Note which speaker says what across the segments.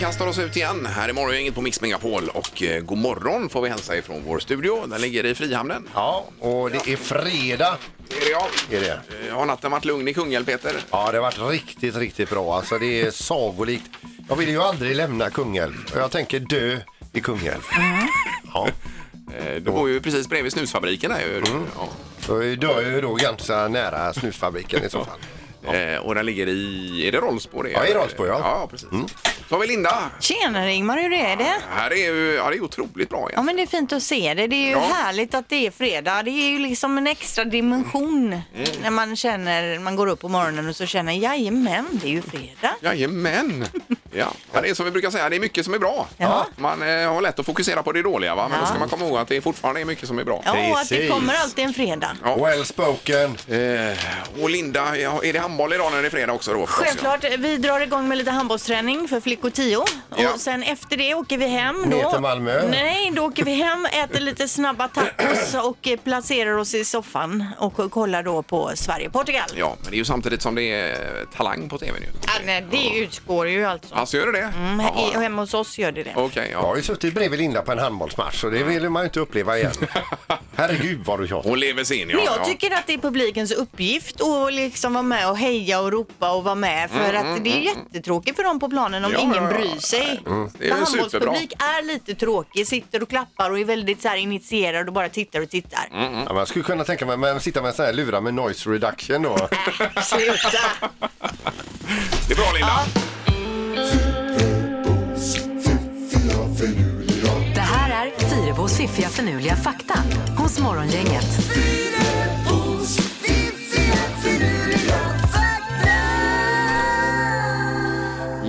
Speaker 1: kastar oss ut igen. Här är Morgongänget på Mix Megapol och eh, god morgon får vi hälsa ifrån vår studio. Den ligger i Frihamnen.
Speaker 2: Ja, och det är fredag.
Speaker 1: Ser jag.
Speaker 2: Är det.
Speaker 1: Eh, Har natten varit lugn i Kungälv, Peter?
Speaker 2: Ja, det har varit riktigt, riktigt bra. Alltså, det är sagolikt. Jag vill ju aldrig lämna Kungälv. Och Jag tänker dö i Kungälv. Ja.
Speaker 1: Eh, Du bor ju precis bredvid snusfabriken. Här. ju.
Speaker 2: Mm.
Speaker 1: Ja.
Speaker 2: Så jag dör ju då ganska nära snusfabriken i så fall.
Speaker 1: Eh, Och den ligger i... Är det Rollsbo det?
Speaker 2: Ja, i Rollsbo, ja. Mm.
Speaker 1: Ja, precis. Så har vi Linda.
Speaker 3: Tjenare Ingmar, hur är det?
Speaker 1: Här är ju... Ja, det är otroligt bra.
Speaker 3: Ja
Speaker 1: Ja.
Speaker 3: men det är fint att se det. Det är ju
Speaker 1: Ja.
Speaker 3: härligt att det är fredag. Det är ju liksom en extra dimension när man känner, man går upp på morgonen och så känner jajamän, det är ju fredag.
Speaker 1: Jajamän! Ja. ja, det är som vi brukar säga, det är mycket som är bra.
Speaker 3: Ja.
Speaker 1: Man eh, har lätt att fokusera på det dåliga, va? men då ska
Speaker 3: Ja.
Speaker 1: man komma ihåg att det fortfarande är mycket som är bra.
Speaker 3: Ja, och att det
Speaker 2: Precis.
Speaker 3: kommer alltid en fredag.
Speaker 1: Ja.
Speaker 2: Well spoken.
Speaker 1: Eh, och Linda, ja, är det handboll idag när det är fredag också? Då, förstås, ja?
Speaker 3: Självklart, vi drar igång med lite handbollsträning för flickor 10 och
Speaker 1: Ja.
Speaker 3: sen efter det åker vi hem. Då,
Speaker 2: Ner till Malmö.
Speaker 3: Nej, då åker vi hem, äter lite snabba tacos och eh, placerar oss i soffan och kollar då på Sverige-Portugal.
Speaker 1: Ja, men det är ju samtidigt som det är eh, Talang på tv nu.
Speaker 3: Ja, nej, det utgår ju alltså.
Speaker 1: Alltså gör det det?
Speaker 3: Mm,
Speaker 1: Jaha.
Speaker 3: he- hemma hos oss gör det det.
Speaker 1: Okej,
Speaker 2: Jag har
Speaker 1: ja.
Speaker 2: ju suttit bredvid Linda på en handbollsmatch och det vill man ju inte uppleva igen. Herregud vad du tjatar.
Speaker 1: Hon lever sin, ja.
Speaker 3: Men jag
Speaker 1: ja.
Speaker 3: tycker att det är publikens uppgift att liksom vara med och heja och ropa och vara med för att det är jättetråkigt för dem på planen om
Speaker 1: Mm, Ja,
Speaker 3: ingen
Speaker 1: ja, ja.
Speaker 3: bryr sig.
Speaker 1: Det är
Speaker 3: För
Speaker 1: ju superbra.
Speaker 3: handbollspublik är lite tråkig, sitter och klappar och är väldigt så här initierad och bara tittar och tittar.
Speaker 1: Mm.
Speaker 2: Ja, man skulle kunna tänka mig men sitta med en sån här lura med noise reduction då.
Speaker 3: Äh, sluta!
Speaker 1: Det är bra, Linda.
Speaker 4: Det här är Fyrabos fiffiga förnuliga fakta hos Morgongänget.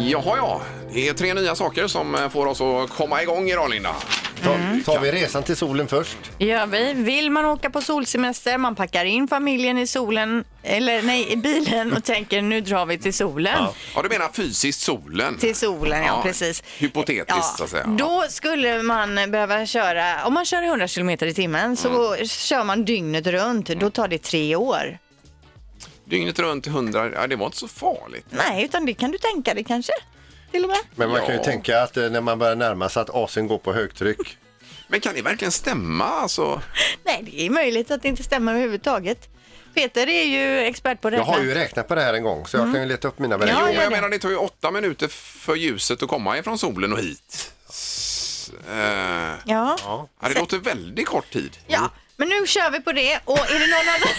Speaker 1: Jaha, ja. Det är tre nya saker som eh, får oss att komma igång idag, Linda. Mm.
Speaker 2: Tar, tar vi resan till solen först?
Speaker 3: gör vi. Vill man åka på solsemester, man packar in familjen i solen, eller nej, i bilen och tänker nu drar vi till solen.
Speaker 1: Ja, du menar fysiskt solen?
Speaker 3: Till solen, ja, precis.
Speaker 1: Hypotetiskt, så att säga.
Speaker 3: Då skulle man behöva köra, om man kör 100 km i timmen så kör man dygnet runt, då tar det tre år.
Speaker 1: Dygnet runt 100, ja, det var inte så farligt.
Speaker 3: Nej, utan det kan du tänka dig kanske, till och med.
Speaker 2: Men man
Speaker 1: Ja.
Speaker 2: kan ju tänka att eh, när man börjar närma sig att asen går på högtryck.
Speaker 1: Men kan det verkligen stämma? Alltså,
Speaker 3: Nej, det är möjligt att det inte stämmer överhuvudtaget. Peter är ju expert på att
Speaker 2: Jag
Speaker 3: räkna.
Speaker 2: har ju räknat på det här en gång så jag kan ju leta upp mina
Speaker 3: Mm. Ja,
Speaker 2: beräkningar.
Speaker 1: men jag
Speaker 3: det.
Speaker 1: menar, det tar ju åtta minuter för ljuset att komma ifrån solen och hit. S- eh,
Speaker 3: Ja.
Speaker 1: ja, det låter väldigt kort tid.
Speaker 3: Ja, men nu kör vi på det och är det någon annan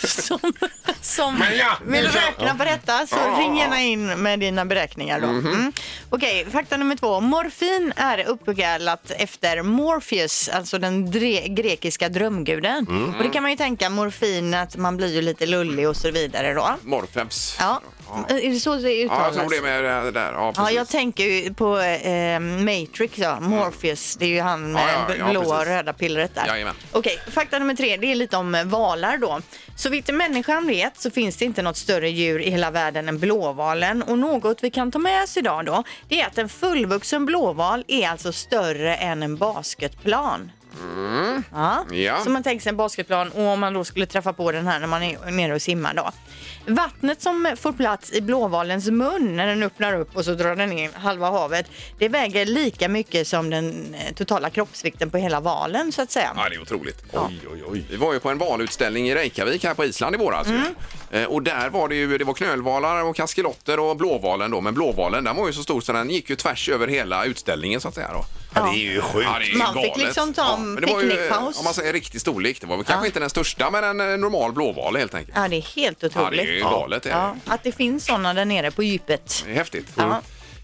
Speaker 3: som, som
Speaker 1: Men ja,
Speaker 3: vill räkna på detta så
Speaker 1: Ja. Mhm.
Speaker 3: ring gärna in med dina beräkningar då. Mm. Okej, fakta nummer två. Morfin är uppkallat efter Morpheus, alltså den dre- grekiska drömguden.
Speaker 1: Mhm.
Speaker 3: Och det kan man ju tänka, morfin, att man blir ju lite lullig och så vidare då.
Speaker 1: Morfems.
Speaker 3: Ja, är det så det
Speaker 1: Ja,
Speaker 3: uttalas?
Speaker 1: jag tror det med det där. Ja,
Speaker 3: Ja,
Speaker 1: precis. Mm.
Speaker 3: jag tänker ju på eh, Matrix, ja. Morpheus. Det är ju han med
Speaker 1: Ja, ja, ja,
Speaker 3: blåa och
Speaker 1: precis.
Speaker 3: röda pillret där.
Speaker 1: Jajamän.
Speaker 3: Okej, fakta nummer tre. Det är lite om eh, valar då. Så vitt människan vet så finns det inte något större djur i hela världen än blåvalen. Och något vi kan ta med oss idag då, det är att en fullvuxen blåval är alltså större än en basketplan. Ja.
Speaker 1: Mm. Ja.
Speaker 3: Så man tänker sig en basketplan och om man då skulle träffa på den här när man är nere och simmar då. Vattnet som får plats i blåvalens mun när den öppnar upp och så drar den in halva havet, det väger lika mycket som den eh, totala kroppsvikten på hela valen så att säga.
Speaker 1: Ja, det är otroligt.
Speaker 2: Oj, oj, oj.
Speaker 1: Vi var ju på en valutställning i Reykjavik här på Island i våras.
Speaker 3: Mm.
Speaker 1: ju. Eh, Och där var det ju det var knölvalar och kaskelotter och blåvalen då. Men blåvalen den var ju så stor så den gick ju tvärs över hela utställningen så att säga då.
Speaker 2: Ja, det är ju sjukt.
Speaker 1: Ja, det är ju
Speaker 3: Man fick
Speaker 1: galet.
Speaker 3: liksom ta en
Speaker 1: men det var ju,
Speaker 3: picknickpaus.
Speaker 1: Om man säger riktig storlek. Det var väl kanske inte den största men en eh, normal blåval helt enkelt.
Speaker 3: Ja, det är helt
Speaker 1: Ja, det är ju
Speaker 3: otroligt.
Speaker 1: galet. Ja.
Speaker 3: Ja, att det finns sådana där nere på djupet.
Speaker 1: Det är häftigt.
Speaker 3: Ja.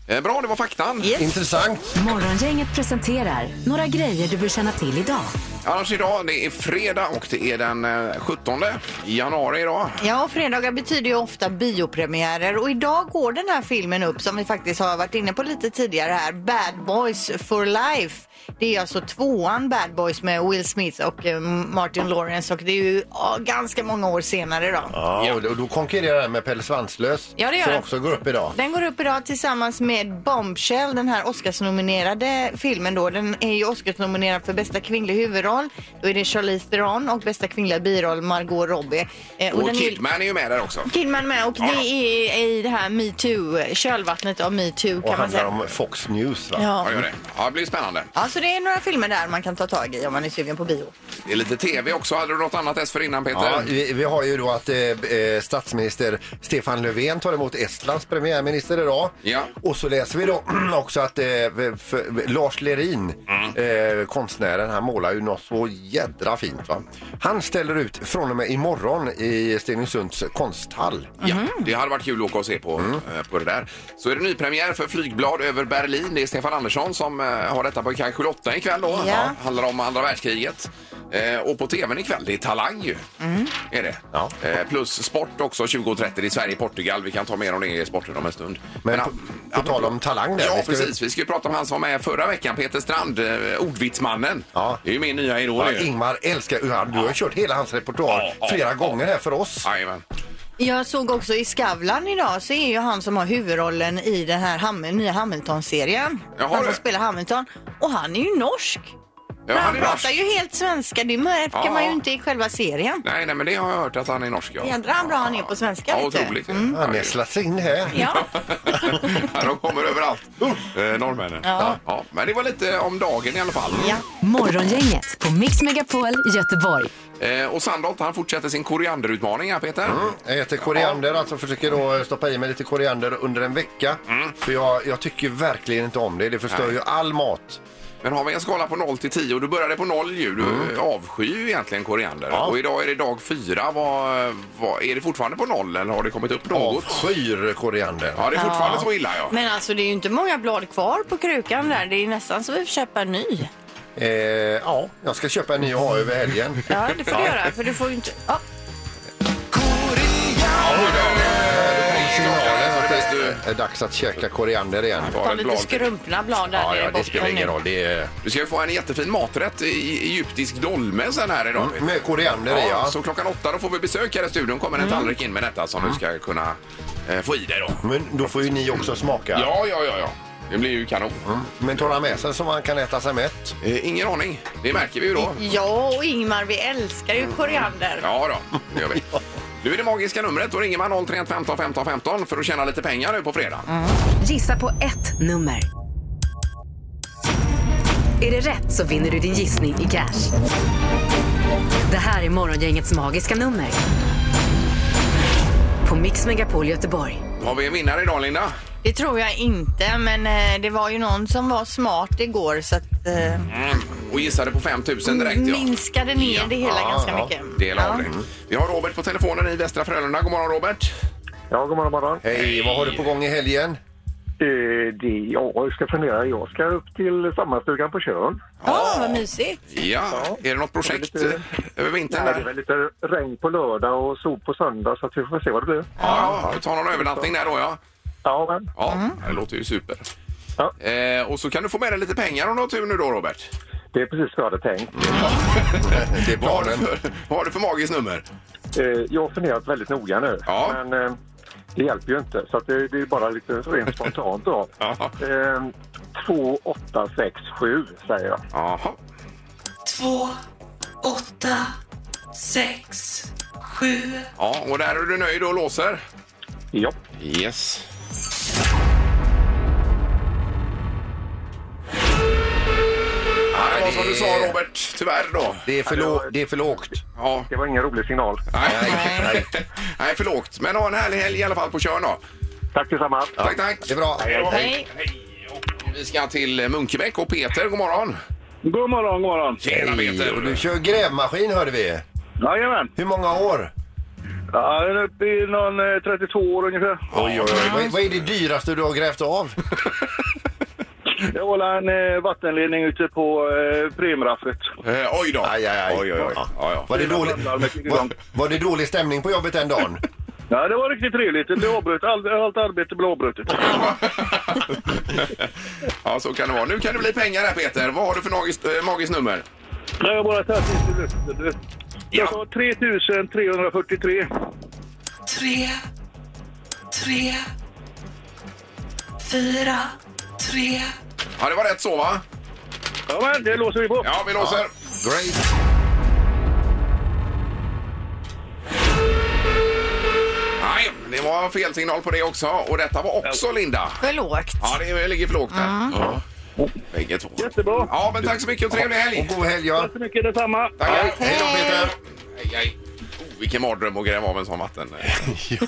Speaker 1: Eh, Bra, det var faktan.
Speaker 3: Yes.
Speaker 2: Intressant.
Speaker 4: Morgongänget presenterar några grejer du bör känna till idag.
Speaker 1: Annars idag, det är fredag och det är den eh, 17 januari idag.
Speaker 3: Ja, och fredagar betyder ju ofta biopremiärer och idag går den här filmen upp som vi faktiskt har varit inne på lite tidigare här, Bad Boys for Life. Det är alltså tvåan Bad Boys med Will Smith och eh, Martin Lawrence och det är ju ja, ganska många år senare då.
Speaker 2: Ja, och då- då konkurrerar den med Pelle Svanslös
Speaker 3: Ja, det gör
Speaker 2: som
Speaker 3: den.
Speaker 2: också går upp idag.
Speaker 3: Den går upp idag tillsammans med Bombshell, den här Oscarsnominerade filmen då. Den är ju Oscarsnominerad för bästa kvinnlig huvudroll huvudroll. Då är det Charlize Theron och bästa kvinnliga biroll Margot Robbie. Eh,
Speaker 1: Och
Speaker 3: den är-
Speaker 1: Kidman är ju med där också.
Speaker 3: Kidman med och
Speaker 1: Ja.
Speaker 3: det är i det här metoo, kölvattnet av metoo
Speaker 2: Och
Speaker 3: kan man
Speaker 2: handlar
Speaker 3: säga.
Speaker 2: om Fox News. Va?
Speaker 1: Ja,
Speaker 3: Ja.
Speaker 1: gör det. Ja, det blir spännande.
Speaker 3: ja, så det är några filmer där man kan ta tag i om man är sugen på bio.
Speaker 1: Det är lite tv också. Hade du något annat dessförinnan
Speaker 2: Ja,
Speaker 1: Peter?
Speaker 2: vi, vi har ju då att eh, eh, statsminister Stefan Löfven tar emot Estlands premiärminister idag.
Speaker 1: Ja.
Speaker 2: Och så läser vi då också att eh, för, Lars Lerin,
Speaker 1: Mm.
Speaker 2: eh, konstnären, han målar ju något så jädra fint. Va? Han ställer ut från och med imorgon i Stenungsunds konsthall.
Speaker 1: Ja,
Speaker 3: Mhm.
Speaker 1: det hade varit kul att åka och se på,
Speaker 2: Mm.
Speaker 1: eh, på det där. Så är det nypremiär för Flygblad över Berlin. Det är Stefan Andersson som eh, har detta på kanske 8 ikväll då.
Speaker 3: Ja.
Speaker 1: Handlar om andra världskriget. Eh, och på tvn ikväll, det är Talang ju.
Speaker 3: Mm.
Speaker 1: Är det.
Speaker 2: Ja.
Speaker 1: Eh, plus sport också 20.30. Det är Sverige-Portugal. Vi kan ta mer om det i sporten om en stund.
Speaker 2: Men
Speaker 1: ah,
Speaker 2: på, på tal om talang där.
Speaker 1: Ja,
Speaker 2: vi ska-
Speaker 1: precis. Vi ska ju prata om han som var med förra veckan, Peter Strand, eh, ordvitsmannen.
Speaker 2: Ja.
Speaker 1: Det är ju min nya idol.
Speaker 2: Ja,
Speaker 1: ju.
Speaker 2: Ingmar älskar ju han. Du har ju kört hela hans
Speaker 1: Ja,
Speaker 2: repertoar
Speaker 1: ja,
Speaker 2: flera
Speaker 1: ja.
Speaker 2: gånger här för oss.
Speaker 1: Jajamän.
Speaker 3: Jag såg också i Skavlan idag så är ju han som har huvudrollen i den här Ham- nya Hamilton-serien.
Speaker 1: Jaha,
Speaker 3: Han
Speaker 1: det.
Speaker 3: som spelar Hamilton. Och han är ju norsk.
Speaker 1: Ja,
Speaker 3: Men han
Speaker 1: han är norsk.
Speaker 3: pratar ju helt svenska. Det märker
Speaker 1: Ja.
Speaker 3: man ju inte i själva serien.
Speaker 1: Nej, nej, men det har jag hört att han är norsk. Ja.
Speaker 3: Jädrar vad bra han är på svenska, Mm.
Speaker 1: Ja,
Speaker 3: vet du.
Speaker 1: otroligt.
Speaker 2: Han nästlas in här.
Speaker 3: Ja.
Speaker 1: Ja, de kommer överallt, eh, norrmännen. Ja.
Speaker 3: Ja.
Speaker 1: men det var lite om dagen i alla fall.
Speaker 3: ja.
Speaker 4: Morgongänget på Mix Megapol Göteborg.
Speaker 1: Eh, och Sandholt, han fortsätter sin korianderutmaning här, Peter.
Speaker 2: Jag äter koriander, alltså försöker då stoppa i mig lite koriander under en vecka. För jag, jag tycker verkligen inte om det. Det förstör
Speaker 1: Mm. Nej.
Speaker 2: ju all mat.
Speaker 1: Men har vi en skala på 0 till 10 och du började på 0 ju. Du avskyr ju egentligen koriander.
Speaker 2: Mm. Ja.
Speaker 1: Och idag är det dag 4. Vad, vad, är det fortfarande på 0 eller har det kommit upp något?
Speaker 2: Avskyr koriander.
Speaker 1: Ja, det är fortfarande
Speaker 3: Ja.
Speaker 1: så illa ja.
Speaker 3: Men alltså det är ju inte många blad kvar på krukan där. Det är nästan så vi får köpa en ny.
Speaker 2: Eh, ja, jag ska köpa en ny och ha över helgen.
Speaker 3: Ja, det får du göra. För du får ju inte... Ja.
Speaker 2: Signalen
Speaker 1: Ja,
Speaker 2: att
Speaker 1: det är bäst du-
Speaker 2: det är dags att käka koriander igen.
Speaker 1: Ta
Speaker 3: Ta
Speaker 1: ett
Speaker 3: lite
Speaker 1: blad.
Speaker 3: skrumpna blad där
Speaker 2: Ja,
Speaker 3: nere
Speaker 2: ja,
Speaker 3: i
Speaker 2: det
Speaker 3: botten
Speaker 2: spelar ingen
Speaker 3: nu.
Speaker 2: roll. Det är...
Speaker 1: Du ska ju få en jättefin maträtt i- i egyptisk dolme sen här idag. Peter.
Speaker 2: Med koriander i,
Speaker 1: Ja,
Speaker 2: ja.
Speaker 1: så klockan åtta då får vi besök här i studion. kommer en tallrik in med detta som du ska kunna eh, få i dig då.
Speaker 2: Men då får ju ni också smaka.
Speaker 1: Ja, ja, ja, ja. Det blir ju kanon.
Speaker 2: Men tar han med sig så man kan äta sig mätt?
Speaker 1: Eh, ingen aning. Det märker vi ju då.
Speaker 3: Ja, och Ingmar, vi älskar ju koriander.
Speaker 1: Ja då, det gör vi. Nu är det magiska numret. Då ringer man 031 15 15 15 för att tjäna lite pengar nu på fredag.
Speaker 4: Gissa på ett nummer. Är det rätt så vinner du din gissning i cash. Det här är Morgongängets magiska nummer. På Mix Megapol Göteborg.
Speaker 1: Har vi en vinnare idag, Linda?
Speaker 3: Det tror jag inte, men eh, det var ju någon som var smart igår så att eh,
Speaker 1: Och gissade på 5 000 direkt. Ja.
Speaker 3: minskade ner
Speaker 1: Ja,
Speaker 3: det hela
Speaker 2: ja,
Speaker 3: ganska
Speaker 2: ja.
Speaker 3: mycket.
Speaker 1: Del av
Speaker 3: Ja.
Speaker 1: det. Vi har Robert på telefonen i Västra Frölunda. God morgon, Robert.
Speaker 5: Ja, god morgon, morgon.
Speaker 2: Hej, vad har du på gång i helgen?
Speaker 5: Eh, det, ja, jag ska fundera. Jag ska upp till sommarstugan på Tjörn.
Speaker 3: Ja, vad mysigt.
Speaker 1: Ja. Är det något projekt
Speaker 5: Det är lite-
Speaker 1: eh, över
Speaker 5: Nej,
Speaker 1: vintern?
Speaker 5: det är
Speaker 1: Där?
Speaker 5: väl lite regn på lördag och sol på söndag så att vi får se vad det blir.
Speaker 1: Ja, du tar någon övernattning där då, ja.
Speaker 5: Ja, men.
Speaker 1: Ja,
Speaker 2: Mm.
Speaker 1: det låter ju super.
Speaker 5: Ja.
Speaker 1: Eh, och så kan du få med dig lite pengar om du har tur nu då, Robert.
Speaker 5: Det är precis vad jag hade tänkt.
Speaker 2: Det är
Speaker 1: Vad har du
Speaker 2: planen.
Speaker 1: för, vad har du för magiskt nummer?
Speaker 5: Eh, jag har funderat väldigt noga nu,
Speaker 1: Mm. Ja.
Speaker 5: men eh, det hjälper ju inte. Så att det, det är bara lite rent spontant då.
Speaker 1: Ja.
Speaker 5: Eh, 2, 8, 6, 7 säger jag.
Speaker 1: Jaha.
Speaker 6: två, åtta, sex, sju.
Speaker 1: Ja, och där är du nöjd och låser?
Speaker 5: Ja.
Speaker 1: Yes. Ja, det var som du sa Robert, tyvärr då.
Speaker 2: Det är för, lå- det är för lågt.
Speaker 1: Ja,
Speaker 5: Det var ingen rolig signal.
Speaker 1: nej,
Speaker 2: Nej.
Speaker 1: nej för lågt. Men ha en härlig helg i alla fall på Tjörn då.
Speaker 5: Tack tillsammans.
Speaker 1: Tack, tack.
Speaker 2: Det är bra.
Speaker 1: Hej då.
Speaker 3: Hej.
Speaker 1: Hej. Och Vi ska till Munkebäck och Peter, god morgon.
Speaker 7: God morgon, god morgon.
Speaker 1: Tjena
Speaker 2: Hej, och du
Speaker 1: Peter.
Speaker 2: kör grävmaskin hörde vi.
Speaker 7: Jajamän.
Speaker 2: Hur många år?
Speaker 7: Ja, jag är uppe i någon eh, 32 år ungefär.
Speaker 2: Oj, oj, oj. Vad, vad är det dyraste du har grävt av?
Speaker 7: Jag håller en eh, vattenledning ute på eh, Premraffet.
Speaker 1: Eh, oj då.
Speaker 2: Aj, aj, aj.
Speaker 1: Oj, oj, oj. Ja, ja.
Speaker 2: Var det, dålig,
Speaker 7: Larmet gick igång.
Speaker 2: var, var det dålig stämning på jobbet den dagen?
Speaker 7: Ja, det var riktigt trevligt. Det blev avbrutet. All, allt arbete blev avbrutet.
Speaker 1: ja, så kan det vara. Nu kan det bli pengar här Peter. Vad har du för magiskt, eh, magiskt nummer?
Speaker 7: Nej, jag bara tar till luften. Jag
Speaker 1: Ja.
Speaker 7: sa 3343.
Speaker 6: Tre, tre, fyra, tre.
Speaker 1: Ja, det var rätt så va?
Speaker 7: Ja, men det låser vi på.
Speaker 1: Ja, vi låser.
Speaker 2: Great.
Speaker 1: Nej, det var fel signal på det också. Och detta var också Linda.
Speaker 3: För lågt.
Speaker 1: Ja, det ligger för lågt där. Ja. Bägge två.
Speaker 7: Jättebra.
Speaker 1: Ja, men tack så mycket och trevlig helg.
Speaker 2: Och god helg, ja.
Speaker 7: så mycket detsamma.
Speaker 1: Tackar. Hej då, Peter. Hej, hej. Oh, vilken mardröm att gräva av en sån vatten.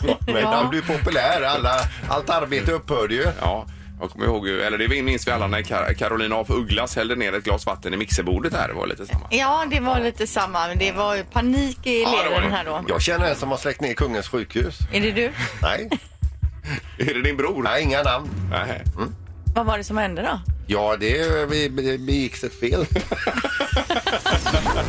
Speaker 2: ja. Men han blir populär. Alla, allt arbete upphörde ju.
Speaker 1: Ja, jag kommer ihåg ju, eller det minns vi alla när Kar- Carolina af Ugglas hällde ner ett glas vatten i mixerbordet här. Det var lite samma.
Speaker 3: Ja, det var lite samma. Men det var ju panik i
Speaker 1: Ja, det var
Speaker 3: leden
Speaker 1: det.
Speaker 3: här då.
Speaker 2: Jag känner en som har släckt ner kungens sjukhus.
Speaker 3: Är det du?
Speaker 2: Nej,
Speaker 1: Är det din bror?
Speaker 2: nej inga namn.
Speaker 1: Nej.
Speaker 3: Vad var det som hände då?
Speaker 2: Ja, det vi- vi- begicks ett fel.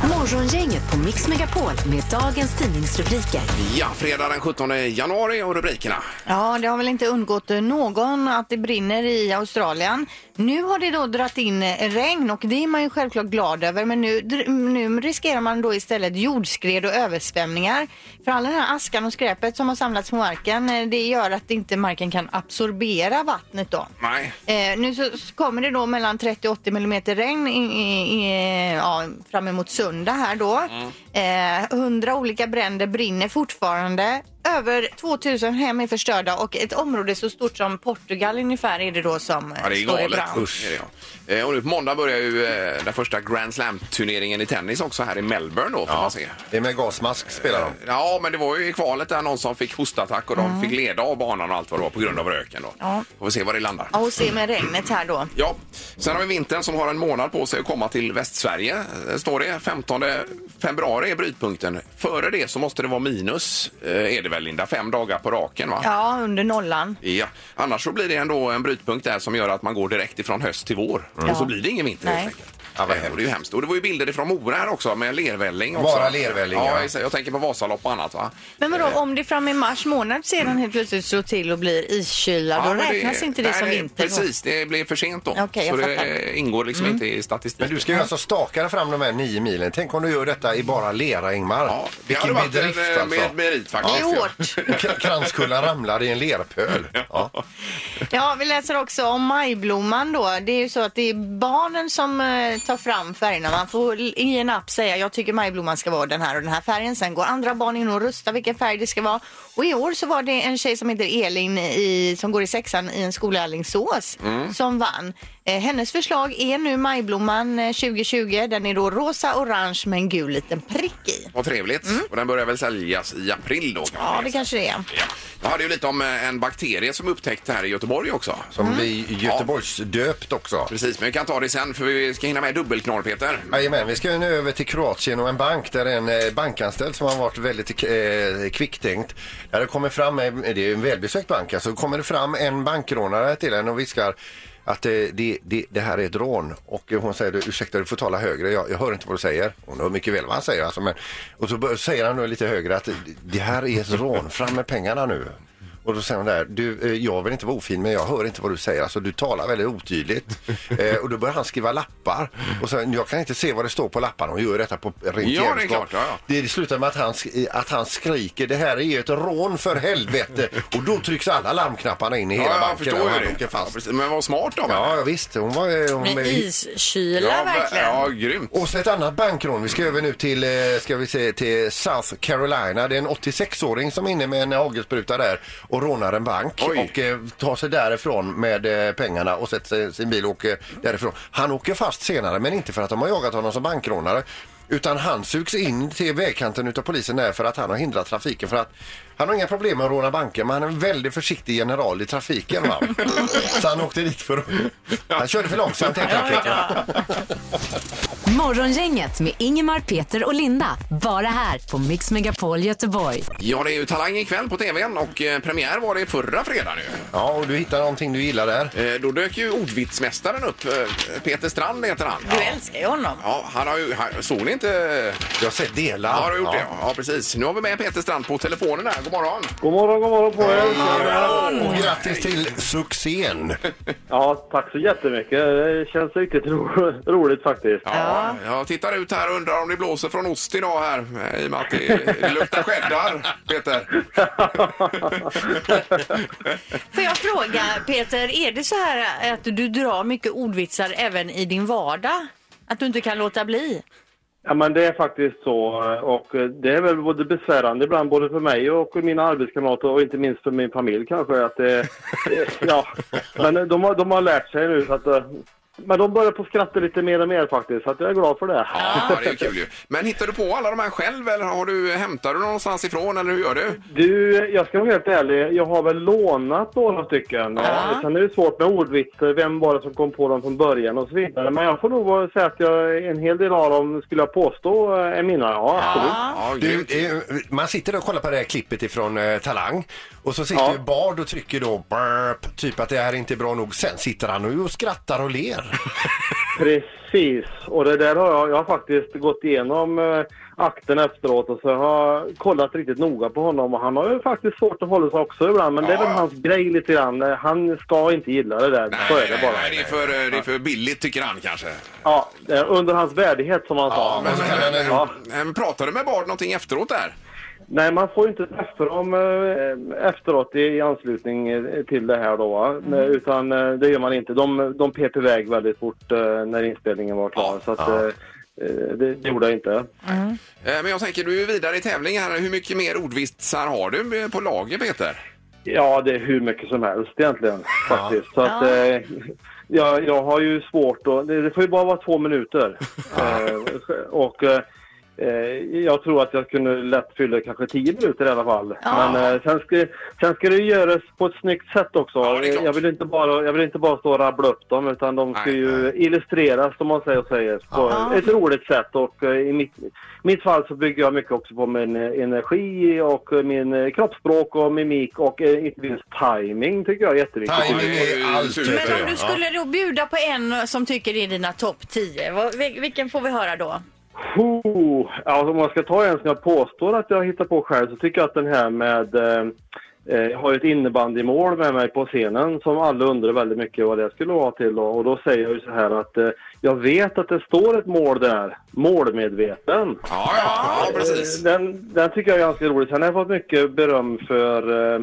Speaker 4: Morgongänget på Mix Megapol med dagens tidningsrubriker.
Speaker 1: Ja, fredag den 17 januari och rubrikerna.
Speaker 3: Ja, det har väl inte undgått eh, någon att det brinner i Australien. Nu har det då dratt in eh, regn och det är man ju självklart glad över men nu, dr- nu riskerar man då istället jordskred och översvämningar. För all den här askan och skräpet som har samlats på marken eh, det gör att inte marken kan absorbera vattnet då.
Speaker 1: Nej.
Speaker 3: Eh, nu så så kommer det då mellan 30 och 80 millimeter regn i, i, i, ja, fram emot söndag här då. Eh, 100 olika bränder brinner fortfarande. Över 2000 hem är förstörda och ett område så stort som Portugal ungefär är det då som eh,
Speaker 1: Ja, det är
Speaker 3: står i
Speaker 1: galet.
Speaker 3: brand.
Speaker 1: Är det, ja. Eh, Och nu på måndag börjar ju eh, den första Grand Slam-turneringen i tennis också här i Melbourne då får man se.
Speaker 2: Det är med gasmask spelar de.
Speaker 1: Ja, men det var ju i kvalet där någon som fick hostattack och de fick leda av banan och allt vad det var på grund av röken då.
Speaker 3: Ja.
Speaker 1: Får vi se var det landar.
Speaker 3: Ja, och se med regnet här då.
Speaker 1: Ja, sen har vi vintern som har en månad på sig att komma till Västsverige. Eh, Står det 15 februari är brytpunkten. Före det så måste det vara minus, eh, är det väl Linda? Fem dagar på raken va?
Speaker 3: Ja, under nollan.
Speaker 1: Ja. Annars så blir det ändå en brytpunkt där som gör att man går direkt ifrån höst till vår. Och så
Speaker 3: Mm. Ja.
Speaker 1: blir det ingen vinter
Speaker 3: Nej.
Speaker 1: helt enkelt.
Speaker 2: Ja,
Speaker 1: Eh,
Speaker 2: vad
Speaker 1: och
Speaker 2: hemskt.
Speaker 1: det är ju hemskt. Och det var ju bilder ifrån Mora här också med lervälling. Också.
Speaker 2: Bara lervälling,
Speaker 1: ja.
Speaker 2: ja.
Speaker 1: exakt. Jag tänker på Vasalopp och annat va?
Speaker 3: Men vadå,
Speaker 1: Eh,
Speaker 3: om det fram i mars månad sedan helt plötsligt slår till och blir iskyla,
Speaker 1: ja,
Speaker 3: då
Speaker 1: men det-
Speaker 3: räknas inte det
Speaker 1: nej,
Speaker 3: som vinter? då?
Speaker 1: Precis, det blir för sent då.
Speaker 3: Okej,
Speaker 1: så
Speaker 3: jag
Speaker 1: det
Speaker 3: fattar. Mm.
Speaker 1: eh, ingår liksom inte i statistiken.
Speaker 2: Men du ska ju alltså staka dig fram de här nio milen. Tänk om du gör detta i bara lera, Ingmar.
Speaker 1: Ja, det hade
Speaker 2: Vilken
Speaker 1: varit en
Speaker 2: bedrift
Speaker 1: eh, med,
Speaker 2: alltså.
Speaker 1: merit faktiskt.
Speaker 3: Det är
Speaker 1: ja.
Speaker 3: hårt.
Speaker 2: K- Kranskullan ramlar i en lerpöl. Ja.
Speaker 3: Ja, vi läser också om majblomman då. Det är ju så att det är barnen som eh, tar fram färgerna. Man får i en app säga jag tycker majblomman ska vara den här och den här färgen. Sen går andra barn in och röstar vilken färg det ska vara. Och i år så var det en tjej som heter Elin i, som går i sexan i en skola i Alingsås som vann. Eh, hennes förslag är nu majblomman eh, 2020. Den är då rosa, orange med en gul liten prick i.
Speaker 1: Vad trevligt. Och den börjar väl säljas i april då? Kan man
Speaker 3: Mm.
Speaker 1: säga.
Speaker 3: Ja, det kanske det är.
Speaker 1: Ja. Jag hade ju lite om eh, en bakterie som upptäckts här i Göteborg också.
Speaker 2: Som blir Göteborgsdöpt också.
Speaker 1: Precis, men vi kan ta det sen för vi ska hinna med dubbelknorr, Peter.
Speaker 2: Jajamän, vi ska nu över till Kroatien och en bank där en eh, bankanställd som har varit väldigt eh, kvicktänkt. Där det kommer fram, eh, det är ju en välbesökt bank, alltså kommer det fram en bankrånare till en och viskar att eh, det, det, det här är ett rån och hon säger ursäkta du får tala högre, jag, jag hör inte vad du säger. Hon hör mycket väl vad han säger alltså, men, och så bör- säger han då lite högre att det här är ett rån, fram med pengarna nu. Och då säger hon där, du, eh, jag vill inte vara ofin men jag hör inte vad du säger. Alltså du talar väldigt otydligt. Eh, och då börjar han skriva lappar. Och så, jag kan inte se vad det står på lapparna. Hon gör detta på rent
Speaker 1: Ja, det är
Speaker 2: jävelskap.
Speaker 1: klart, ja, ja.
Speaker 2: Det slutar med att han, sk- eh, att han skriker, det här är ett rån för helvete. och då trycks alla larmknapparna in i hela
Speaker 1: jag
Speaker 2: banken. och
Speaker 1: förstår
Speaker 2: han
Speaker 1: ju
Speaker 2: åker
Speaker 1: det. Ja,
Speaker 2: fast.
Speaker 1: precis. men vad smart av henne.
Speaker 2: Ja, ja, visst. Hon var... eh, Hon,
Speaker 3: Med iskyla
Speaker 1: ja,
Speaker 3: verkligen.
Speaker 1: Ja, grymt.
Speaker 2: och så ett annat bankrån. Vi ska över nu till, eh, ska vi se, till South Carolina. Det är en 86-åring som är inne med en hagelspruta där och rånar en bank
Speaker 1: Oj.
Speaker 2: och eh, tar sig därifrån med eh, pengarna och sätter sig i sin bil och åker därifrån. Han åker fast senare, men inte för att de har jagat honom som bankrånare. Utan han sugs in till vägkanten utav polisen där för att han har hindrat trafiken. För att han har inga problem med att råna banker men han är en väldigt försiktig general i trafiken. Va? Så han åkte dit för att... Han körde för långsamt helt enkelt.
Speaker 4: Morgongänget med Ingemar, Peter och Linda. Bara här på Mix Megapol Göteborg.
Speaker 1: Ja, det är ju Talang ikväll på tvn och eh, premiär var det förra fredagen ju.
Speaker 2: Ja, och du hittar någonting du gillar där.
Speaker 1: Eh, Då dök ju ordvitsmästaren upp. eh, Peter Strand heter han.
Speaker 3: Du
Speaker 1: Ja.
Speaker 3: älskar ju honom.
Speaker 1: Ja, han har ju... Han, såg ni inte? eh,
Speaker 2: Jag har sett delar.
Speaker 1: Ja, har du gjort det? Ja. ja, precis. Nu har vi med Peter Strand på telefonen här. God morgon!
Speaker 7: God morgon, god morgon på er.
Speaker 2: Och grattis till succén!
Speaker 7: Ja, tack så jättemycket. Det känns riktigt ro- roligt faktiskt.
Speaker 1: Ja, jag tittar ut här och undrar om det blåser från ost idag här eh, i och med att det, det luktar cheddar, Peter.
Speaker 3: Får jag fråga Peter, är det så här att du drar mycket ordvitsar även i din vardag? Att du inte kan låta bli?
Speaker 7: Ja, men det är faktiskt så. Och eh, det är väl både besvärande ibland, både för mig och mina arbetskamrater och inte minst för min familj kanske. Att, eh, eh, ja. Men eh, de har, de har lärt sig nu. Så att, eh, men de börjar på att skratta lite mer och mer faktiskt, så att jag är glad för det.
Speaker 1: Ja, det är kul ju. Men hittar du på alla de här själv eller har du, hämtar du någonstans ifrån eller hur gör du?
Speaker 7: Du, jag ska vara helt ärlig. Jag har väl lånat några stycken.
Speaker 3: Ja.
Speaker 7: Ja. Sen är det svårt med ordvitsar, vem var det som kom på dem från början och så vidare. Men jag får nog vara- säga att jag, en hel del av dem, skulle jag påstå, eh, är mina. Ja, absolut.
Speaker 1: Ja,
Speaker 2: Du,
Speaker 1: grymt.
Speaker 2: eh, man sitter där och kollar på det här klippet ifrån eh, Talang och så sitter
Speaker 7: Ja.
Speaker 2: ju Bard och trycker då burp, typ att det här är inte bra nog. Sen sitter han nu och skrattar och ler.
Speaker 7: Precis. Och det där har jag, jag har faktiskt gått igenom eh, akten efteråt och så har jag kollat riktigt noga på honom. Och han har ju faktiskt svårt att hålla sig också ibland. Men det är väl
Speaker 1: Ja.
Speaker 7: hans grej lite grann. Eh, Han ska inte gilla det där. så är det bara.
Speaker 1: nej, det, är för, eh, det är för billigt tycker han kanske.
Speaker 7: Ja, det är under hans värdighet som han sa.
Speaker 1: men,
Speaker 2: så kan
Speaker 1: men,
Speaker 2: han-
Speaker 1: ja. men, pratar du med Bard någonting efteråt där?
Speaker 7: Nej, man får ju inte träffa dem eh, efteråt i, i anslutning eh, till det här då. va?
Speaker 1: Mm.
Speaker 7: Nej, Utan eh, det gör man inte. De, de pep iväg väldigt fort eh, när inspelningen var klar.
Speaker 1: Ja,
Speaker 7: så att,
Speaker 2: ja.
Speaker 7: eh, eh, det, det gjorde jag inte.
Speaker 1: Eh, Men jag tänker, du är ju vidare i tävlingen här. Hur mycket mer ordvitsar har du eh, på lager, Peter?
Speaker 7: Ja, det är hur mycket som helst egentligen faktiskt. Så att,
Speaker 3: Ja.
Speaker 7: eh, jag, jag har ju svårt att... Det, det får ju bara vara två minuter. eh, och eh, eh, jag tror att jag kunde lätt fylla kanske tio minuter i alla fall.
Speaker 3: Ja.
Speaker 7: Men eh, sen, ska, sen ska det ju göras på ett snyggt sätt också.
Speaker 1: Ja, det är klart.
Speaker 7: jag, vill inte bara, jag vill inte bara stå och rabbla upp dem utan de ska
Speaker 1: Nej,
Speaker 7: ju illustreras som man säger, säger på
Speaker 3: Ja.
Speaker 7: ett roligt sätt. Och eh, i mitt, mitt fall så bygger jag mycket också på min eh, energi och eh, min eh, kroppsspråk och mimik och eh, inte minst timing tycker jag är jätteviktigt.
Speaker 1: Timing.
Speaker 2: Timing är allt.
Speaker 1: Men
Speaker 3: Men
Speaker 1: Ja.
Speaker 3: om du skulle då bjuda på en som tycker det är dina topp 10, vad- vil- vilken får vi höra då?
Speaker 7: Puh. Ja, om man ska ta en som jag påstår att jag hittar på själv så tycker jag att den här med eh, eh, jag har ju ett innebandymål med mig på scenen som alla undrar väldigt mycket vad det skulle vara till. Och, och då säger jag ju så här att eh, jag vet att det står ett mål där, målmedveten.
Speaker 1: Ja, ja, ja precis.
Speaker 7: Eh, Den, den tycker jag är ganska rolig. Sen har jag fått mycket beröm för eh,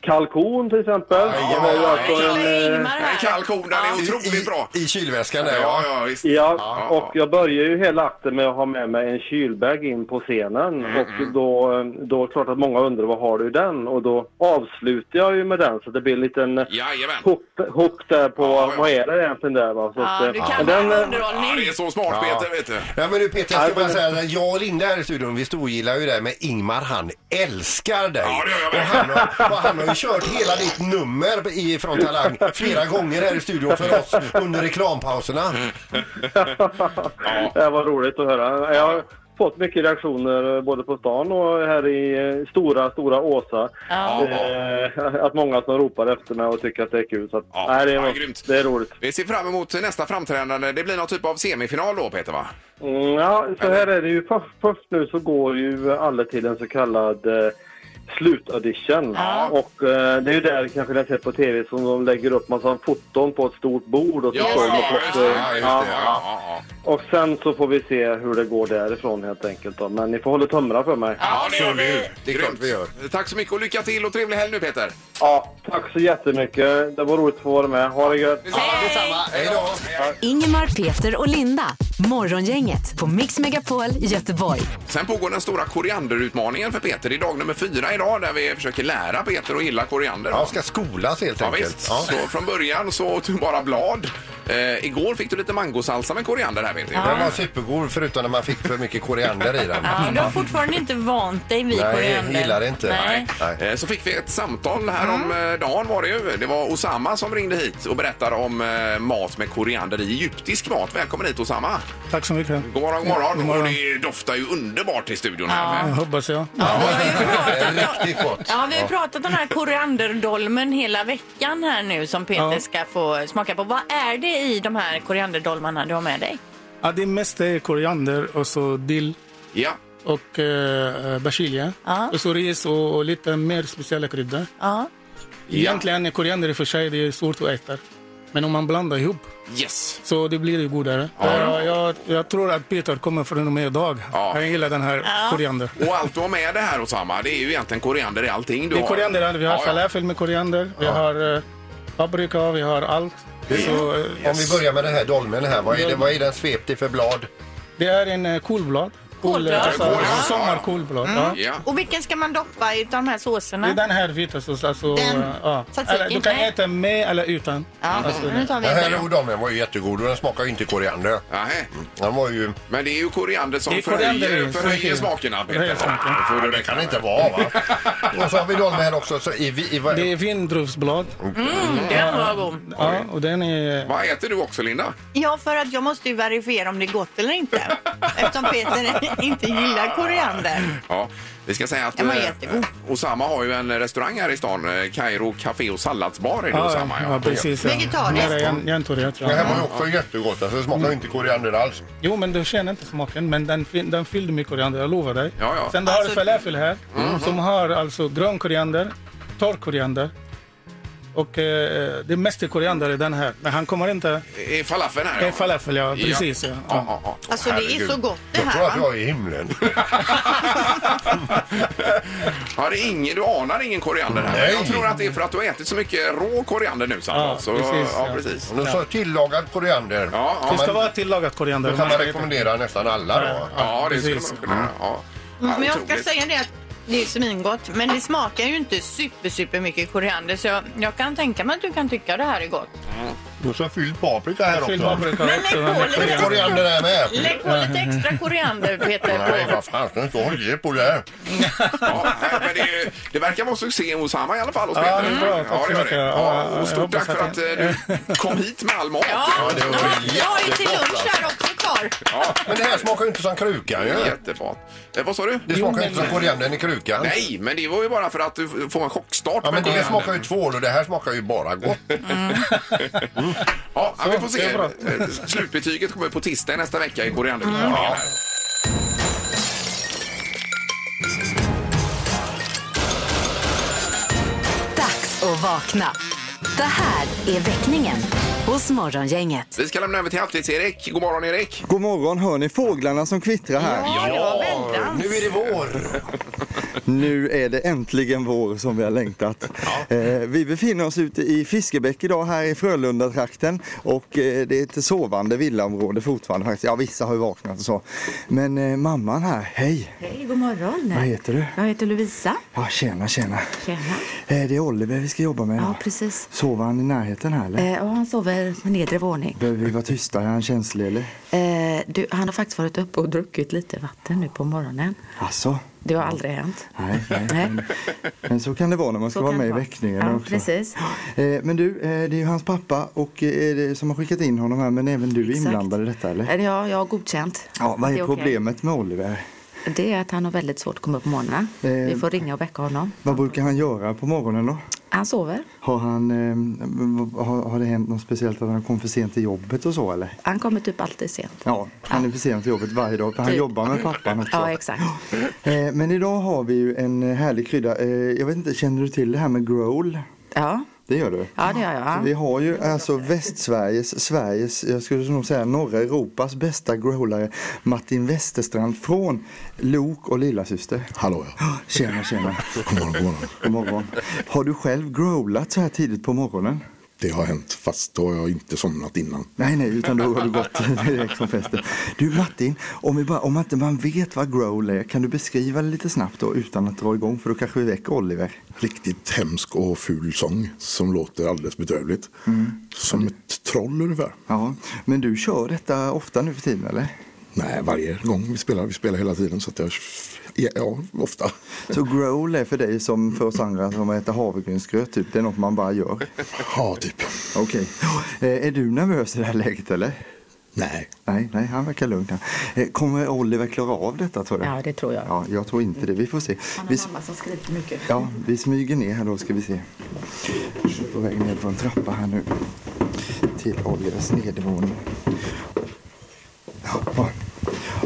Speaker 7: kalkon till exempel. Det var ju alltså en,
Speaker 3: Eller
Speaker 7: eh,
Speaker 3: Ingmar
Speaker 1: En
Speaker 3: här.
Speaker 1: kall ko, den är otroligt bra.
Speaker 2: Äh. I, i kylväskan där
Speaker 1: Ja, ja, visst.
Speaker 7: Ja, och jag börjar ju hela akten med att ha med mig en kylbag in på scenen. Och då, då är det klart att många undrar vad har du i den? Och då avslutar jag ju med den så det blir en liten
Speaker 1: Jajamän.
Speaker 7: hook, hook där på
Speaker 1: Ja, ja.
Speaker 7: vad är det egentligen där va? Så att,
Speaker 3: Ja,
Speaker 7: eh,
Speaker 3: du kan
Speaker 7: den,
Speaker 3: bara
Speaker 7: eh,
Speaker 1: Ja,
Speaker 3: underhållning.
Speaker 1: det är så smart, Peter, vet du.
Speaker 2: Ja men du Peter, jag
Speaker 7: Ja,
Speaker 2: ska bara
Speaker 7: men-
Speaker 2: säga att jag och Linda här i studion, vi storgillar ju dig men Ingmar han älskar dig.
Speaker 1: Ja, det gör jag
Speaker 2: och
Speaker 1: med.
Speaker 2: han, har, och han har ju kört hela ditt nummer i, från Talang flera gånger här i studion för oss under reklampauserna.
Speaker 1: Mm.
Speaker 7: det var roligt att höra. Jag har fått mycket reaktioner eh, både på stan och här i eh, stora, stora Åsa.
Speaker 3: Ja.
Speaker 7: Eh, att många som ropar efter mig och tycker att det är kul. Så att,
Speaker 1: Ja,
Speaker 7: nej, det,
Speaker 1: ja,
Speaker 7: är,
Speaker 1: grymt.
Speaker 7: det är roligt.
Speaker 1: Vi ser fram emot nästa framträdande. Det blir någon typ av semifinal då, Peter, va?
Speaker 7: Mm, ja, så här är det ju. Först, först nu så går ju alla till en så kallad eh, slutaudition.
Speaker 3: Ja.
Speaker 7: Och eh, det är ju där kanske ni har sett på tv som de lägger upp massa foton på ett stort bord. Och så står de och
Speaker 3: ja,
Speaker 7: plockar-
Speaker 1: just det. Ja, just det.
Speaker 7: eh, Ja.
Speaker 1: Ja, ja, ja.
Speaker 7: Och sen så får vi se hur det går därifrån helt enkelt. Då. Men ni får hålla tumrar för mig. Ja,
Speaker 1: Ja, det gör vi.
Speaker 2: Det är klart vi gör.
Speaker 1: Tack så mycket och lycka till och trevlig helg nu, Peter.
Speaker 7: tack så jättemycket. Det var roligt att få vara med. Ha det gött!
Speaker 2: Hej då!
Speaker 4: Ingemar, Peter och Linda. Morgongänget på Mix Megapol Göteborg.
Speaker 1: Sen pågår den stora korianderutmaningen för Peter. Det är dag nummer fyra idag där vi försöker lära Peter att gilla koriander.
Speaker 2: Ja, ska skolas helt
Speaker 1: Ja,
Speaker 2: enkelt.
Speaker 1: visst. Så från början så åt du bara blad. Eh, igår fick du lite mangosalsa med koriander här vet du.
Speaker 2: Den var supergod förutom när man fick för mycket koriander i den.
Speaker 3: Ja, du har fortfarande inte vant dig vid
Speaker 2: Nej,
Speaker 3: koriander.
Speaker 2: gillar det inte.
Speaker 3: Nej.
Speaker 2: Nej.
Speaker 1: Eh, Så fick vi ett samtal här om
Speaker 8: Mm.
Speaker 1: eh, dagen var det ju. Det var Osama som ringde hit och berättade om eh, mat med koriander i egyptisk mat. Välkommen hit Osama.
Speaker 8: Tack så mycket.
Speaker 1: God morgon, god morgon.
Speaker 8: God morgon.
Speaker 1: Och det doftar ju underbart i studion här.
Speaker 8: Jag hoppas jag.
Speaker 3: Ja, vi har ju
Speaker 2: Det är
Speaker 3: pratat om-
Speaker 2: Riktigt gott.
Speaker 3: Ja, vi har ju pratat om den här korianderdolmen hela veckan här nu som Peter
Speaker 8: Ja.
Speaker 3: ska få smaka på. Vad är det i de här korianderdolmarna du har med dig?
Speaker 8: Ja, det mesta är koriander och så dill
Speaker 1: Ja.
Speaker 8: och eh, basilja.
Speaker 3: Ja.
Speaker 8: Och så ris och, och lite mer speciella kryddor.
Speaker 3: Ja.
Speaker 8: Egentligen är koriander i och för sig det är svårt att äta. Men om man blandar ihop
Speaker 1: Yes.
Speaker 8: så det blir det godare. Ja. Jag, jag tror att Peter kommer från och med idag.
Speaker 1: Ja.
Speaker 8: Han gillar den här koriander.
Speaker 1: Och allt du har med det här Osama, det är ju egentligen koriander i allting du
Speaker 8: Det är
Speaker 1: har.
Speaker 8: koriander, vi har
Speaker 1: Ja, ja.
Speaker 8: falafel med koriander, vi har eh, paprika, vi har allt. Så, eh,
Speaker 3: Mm.
Speaker 2: Om vi börjar med den här dolmen här, vad är, det, vad är den svept i för blad?
Speaker 8: Det är en eh, kolblad. Kol-
Speaker 3: Kolblad? Mm.
Speaker 8: alltså,
Speaker 1: Kolblad.
Speaker 8: Sommarkolblad. Ja.
Speaker 1: Ja.
Speaker 3: Och vilken ska man doppa i de här såserna?
Speaker 8: Det är den här vita såsen. Alltså,
Speaker 3: Den.
Speaker 8: ja.
Speaker 3: Tzatziki,
Speaker 8: eller, du kan
Speaker 3: nej.
Speaker 8: äta med eller utan.
Speaker 3: Ja, nu tar vi
Speaker 2: Den här
Speaker 3: en.
Speaker 2: rhodomen var ju jättegod och den smakar ju inte koriander.
Speaker 1: Nej,
Speaker 2: Den var ju...
Speaker 1: men det är ju koriander som
Speaker 8: Det är koriander
Speaker 1: förhöjer,
Speaker 8: som
Speaker 1: förhöjer
Speaker 8: är-
Speaker 1: smakerna. Peter.
Speaker 8: förhöjer smaken.
Speaker 1: Då får du
Speaker 2: Det
Speaker 1: räkna
Speaker 2: kan
Speaker 1: med.
Speaker 2: inte vara va? Och så har vi de här också. Så i, vi- i, vad-
Speaker 8: Det är vindruvsblad.
Speaker 3: Mm,
Speaker 8: Mm.
Speaker 3: Den var god.
Speaker 8: Ja, och den är...
Speaker 1: Vad äter du också, Linda?
Speaker 3: Ja, för att jag måste ju verifiera om det är gott eller inte. Eftersom Peter inte gillar koriander.
Speaker 1: Ja, vi ska säga att
Speaker 3: Den var
Speaker 1: eh,
Speaker 3: jättegod.
Speaker 1: Osama har ju en restaurang här i stan, eh, Kairo Café och Salladsbar är det Osama.
Speaker 8: ja, ja, precis. Ja.
Speaker 3: Vegetariskt.
Speaker 8: Nära jän- Jäntorget,
Speaker 2: Det här
Speaker 8: ja.
Speaker 2: var ju också jättegott. Alltså, det smakar ju inte koriander alls.
Speaker 8: Jo, men du känner inte smaken, men den, fi- den fyllde med koriander, jag lovar dig.
Speaker 1: Ja, Mm. ja.
Speaker 8: Sen du har
Speaker 3: Alltså-
Speaker 8: du falafel här, som har alltså grön koriander, torr koriander. Och eh, det är mest koriander i den här, men han kommer inte...
Speaker 1: Är falafeln här?
Speaker 8: Eh, falafel, ja, precis. Ja.
Speaker 1: Ja,
Speaker 8: Ja.
Speaker 1: ja, ja.
Speaker 3: Alltså det är
Speaker 2: Herregud.
Speaker 3: så gott det
Speaker 2: Jag tror att
Speaker 3: här. va?
Speaker 2: jag är i himlen.
Speaker 1: Ja, det är ingen, du anar ingen koriander här.
Speaker 2: Nej.
Speaker 1: Jag tror att det är för att du har ätit så mycket rå koriander nu, Sandra.
Speaker 8: Ja,
Speaker 1: så,
Speaker 8: precis,
Speaker 1: ja,
Speaker 8: ja.
Speaker 1: precis.
Speaker 2: Och så tillagad koriander.
Speaker 1: Ja, ja,
Speaker 8: Det ska
Speaker 1: men-
Speaker 8: vara tillagat koriander.
Speaker 2: Då
Speaker 8: man
Speaker 2: kan man
Speaker 8: ska äta.
Speaker 2: rekommendera nästan alla då.
Speaker 1: ja, det skulle
Speaker 8: precis.
Speaker 1: man kunna ja. Ja,
Speaker 3: Mm, Men jag ska
Speaker 1: otroligt.
Speaker 3: säga det att det är svingott, men det smakar ju inte super, super mycket koriander. Så jag, jag kan tänka mig att du kan tycka det här är gott.
Speaker 2: Och så fylld paprika här
Speaker 8: Fyll
Speaker 2: också.
Speaker 8: paprika också.
Speaker 3: lägg på
Speaker 8: men-
Speaker 3: lite.
Speaker 2: Koriander är med.
Speaker 3: Lägg på lite extra koriander,
Speaker 2: Nej,
Speaker 3: Peter.
Speaker 2: vad fan ska det stå olja på det här?
Speaker 1: Ja, nej, men det, är ju- det verkar vara succé hos Hammar i alla fall. Hos
Speaker 8: Ja,
Speaker 1: Peter.
Speaker 8: det är bra. Tack så
Speaker 1: gör
Speaker 8: mycket.
Speaker 1: det. Ja,
Speaker 8: Ja,
Speaker 1: och
Speaker 8: jag
Speaker 1: stort tack
Speaker 8: hoppas
Speaker 1: för
Speaker 8: att
Speaker 1: att eh, du kom hit med all mat.
Speaker 3: Ja,
Speaker 2: det var
Speaker 3: ja, jag har ju till
Speaker 2: jättegott, alltså.
Speaker 3: lunch här också kvar.
Speaker 1: Ja,
Speaker 2: Men det här smakar ju inte som krukan ju.
Speaker 1: Jättefat. Eh, vad sa du?
Speaker 2: Det smakar ju inte som koriandern i krukan.
Speaker 1: Nej, men det var ju bara för att du f- får en chockstart.
Speaker 2: Ja, men
Speaker 1: med
Speaker 2: det
Speaker 1: koriander.
Speaker 2: smakar ju tvål och det här smakar ju bara gott.
Speaker 1: Ja, ja, vi får
Speaker 8: det
Speaker 1: se.
Speaker 8: är bra.
Speaker 1: Eh, Slutbetyget kommer på tisdag nästa vecka i korianderförklaringen. här.
Speaker 4: Dags att vakna. Det här är väckningen hos Morgongänget.
Speaker 1: Vi ska lämna över till Halvtids-Erik. God morgon, Erik.
Speaker 9: God morgon, hör ni fåglarna som kvittrar här?
Speaker 3: Ja, det var väldans.
Speaker 2: Nu är det vår!
Speaker 9: Nu är det äntligen vår som vi har längtat. Eh, vi befinner oss ute i Fiskebäck idag här i Frölunda-trakten och eh, det är ett sovande villaområde fortfarande faktiskt. Ja, vissa har ju vaknat och så. Men eh, mamman här, hej!
Speaker 10: Hej, god morgon.
Speaker 9: Vad heter du?
Speaker 10: Jag heter Lovisa.
Speaker 9: Ja, tjena, tjena.
Speaker 10: Tjena.
Speaker 9: Eh, det är Oliver vi ska jobba med idag.
Speaker 10: Ja, precis.
Speaker 9: Sover han i närheten här eller?
Speaker 10: Eh, och han sover på nedre våning.
Speaker 9: Behöver vi vara tysta? Är han känslig eller?
Speaker 10: Eh, du, han har faktiskt varit uppe och druckit lite vatten nu på morgonen.
Speaker 9: Alltså,
Speaker 10: Det har aldrig hänt.
Speaker 9: nej, nej.
Speaker 10: Nej.
Speaker 9: Men så kan det vara när man ska
Speaker 10: Så
Speaker 9: vara
Speaker 10: kan
Speaker 9: med i
Speaker 10: det vara.
Speaker 9: väckningen
Speaker 10: Ja,
Speaker 9: också.
Speaker 10: precis.
Speaker 9: Eh, Men du, eh, det är ju hans pappa och eh, det som har skickat in honom här men även du är
Speaker 10: Exakt.
Speaker 9: inblandad i detta eller?
Speaker 10: Eh, Ja, jag har godkänt.
Speaker 9: Ja, vad
Speaker 10: Det
Speaker 9: är
Speaker 10: okej.
Speaker 9: problemet med Oliver?
Speaker 10: Det är att han har väldigt svårt att komma upp på morgonen.
Speaker 9: Eh.
Speaker 10: Vi får ringa och väcka honom.
Speaker 9: Vad brukar han göra på morgonen då?
Speaker 10: Han sover.
Speaker 9: Har, han, eh, har, har det hänt något speciellt att han kom för sent till jobbet och så eller?
Speaker 10: Han kommer typ alltid sent.
Speaker 9: Ja, han är för sent till jobbet varje dag för han
Speaker 10: Typ.
Speaker 9: jobbar med pappan också.
Speaker 10: Ja, exakt.
Speaker 9: Eh, Men idag har vi ju en eh, härlig krydda. Eh, Jag vet inte, känner du till det här med growl?
Speaker 10: Ja,
Speaker 9: Det gör du?
Speaker 10: ja det gör
Speaker 9: Så Vi
Speaker 10: jag.
Speaker 9: har ju alltså Västsveriges, Sveriges, jag skulle nog säga norra Europas bästa growlare Martin Westerstrand från Lok och lillasyster. Hallå ja. Tjena tjena. God morgon, god morgon. Har du själv growlat så här tidigt på morgonen?
Speaker 11: Det har hänt, fast då har jag inte somnat innan.
Speaker 9: Nej, nej, utan då har du gått direkt från festen. Du Martin, om, vi bara, om inte man vet vad growl är, kan du beskriva det lite snabbt då utan att dra igång för då kanske vi väcker Oliver?
Speaker 11: Riktigt hemsk och ful sång som låter alldeles bedrövligt. Som ett troll ungefär.
Speaker 9: Ja, men du kör detta ofta nu för tiden eller?
Speaker 11: Nej, varje gång vi spelar, vi spelar hela tiden så att jag, ja, ja ofta.
Speaker 9: Så growl är för dig som för oss andra som äter havregrynsgröt typ, det är något man bara gör.
Speaker 11: Ja, typ.
Speaker 9: Okej. Eh, Är du nervös i det här läget eller?
Speaker 11: Nej,
Speaker 9: Nej, nej, han verkar lugn. här. Eh, Kommer Oliver klara av detta tror du?
Speaker 10: Ja, det tror jag.
Speaker 9: Ja, jag tror inte det. Vi får se.
Speaker 10: Han
Speaker 9: Vi,
Speaker 10: har mamma som skriker mycket.
Speaker 9: ja, vi smyger ner här då ska vi se. På väg ner på en trappa här nu. Till Olivers nedervåning. Ja, ja.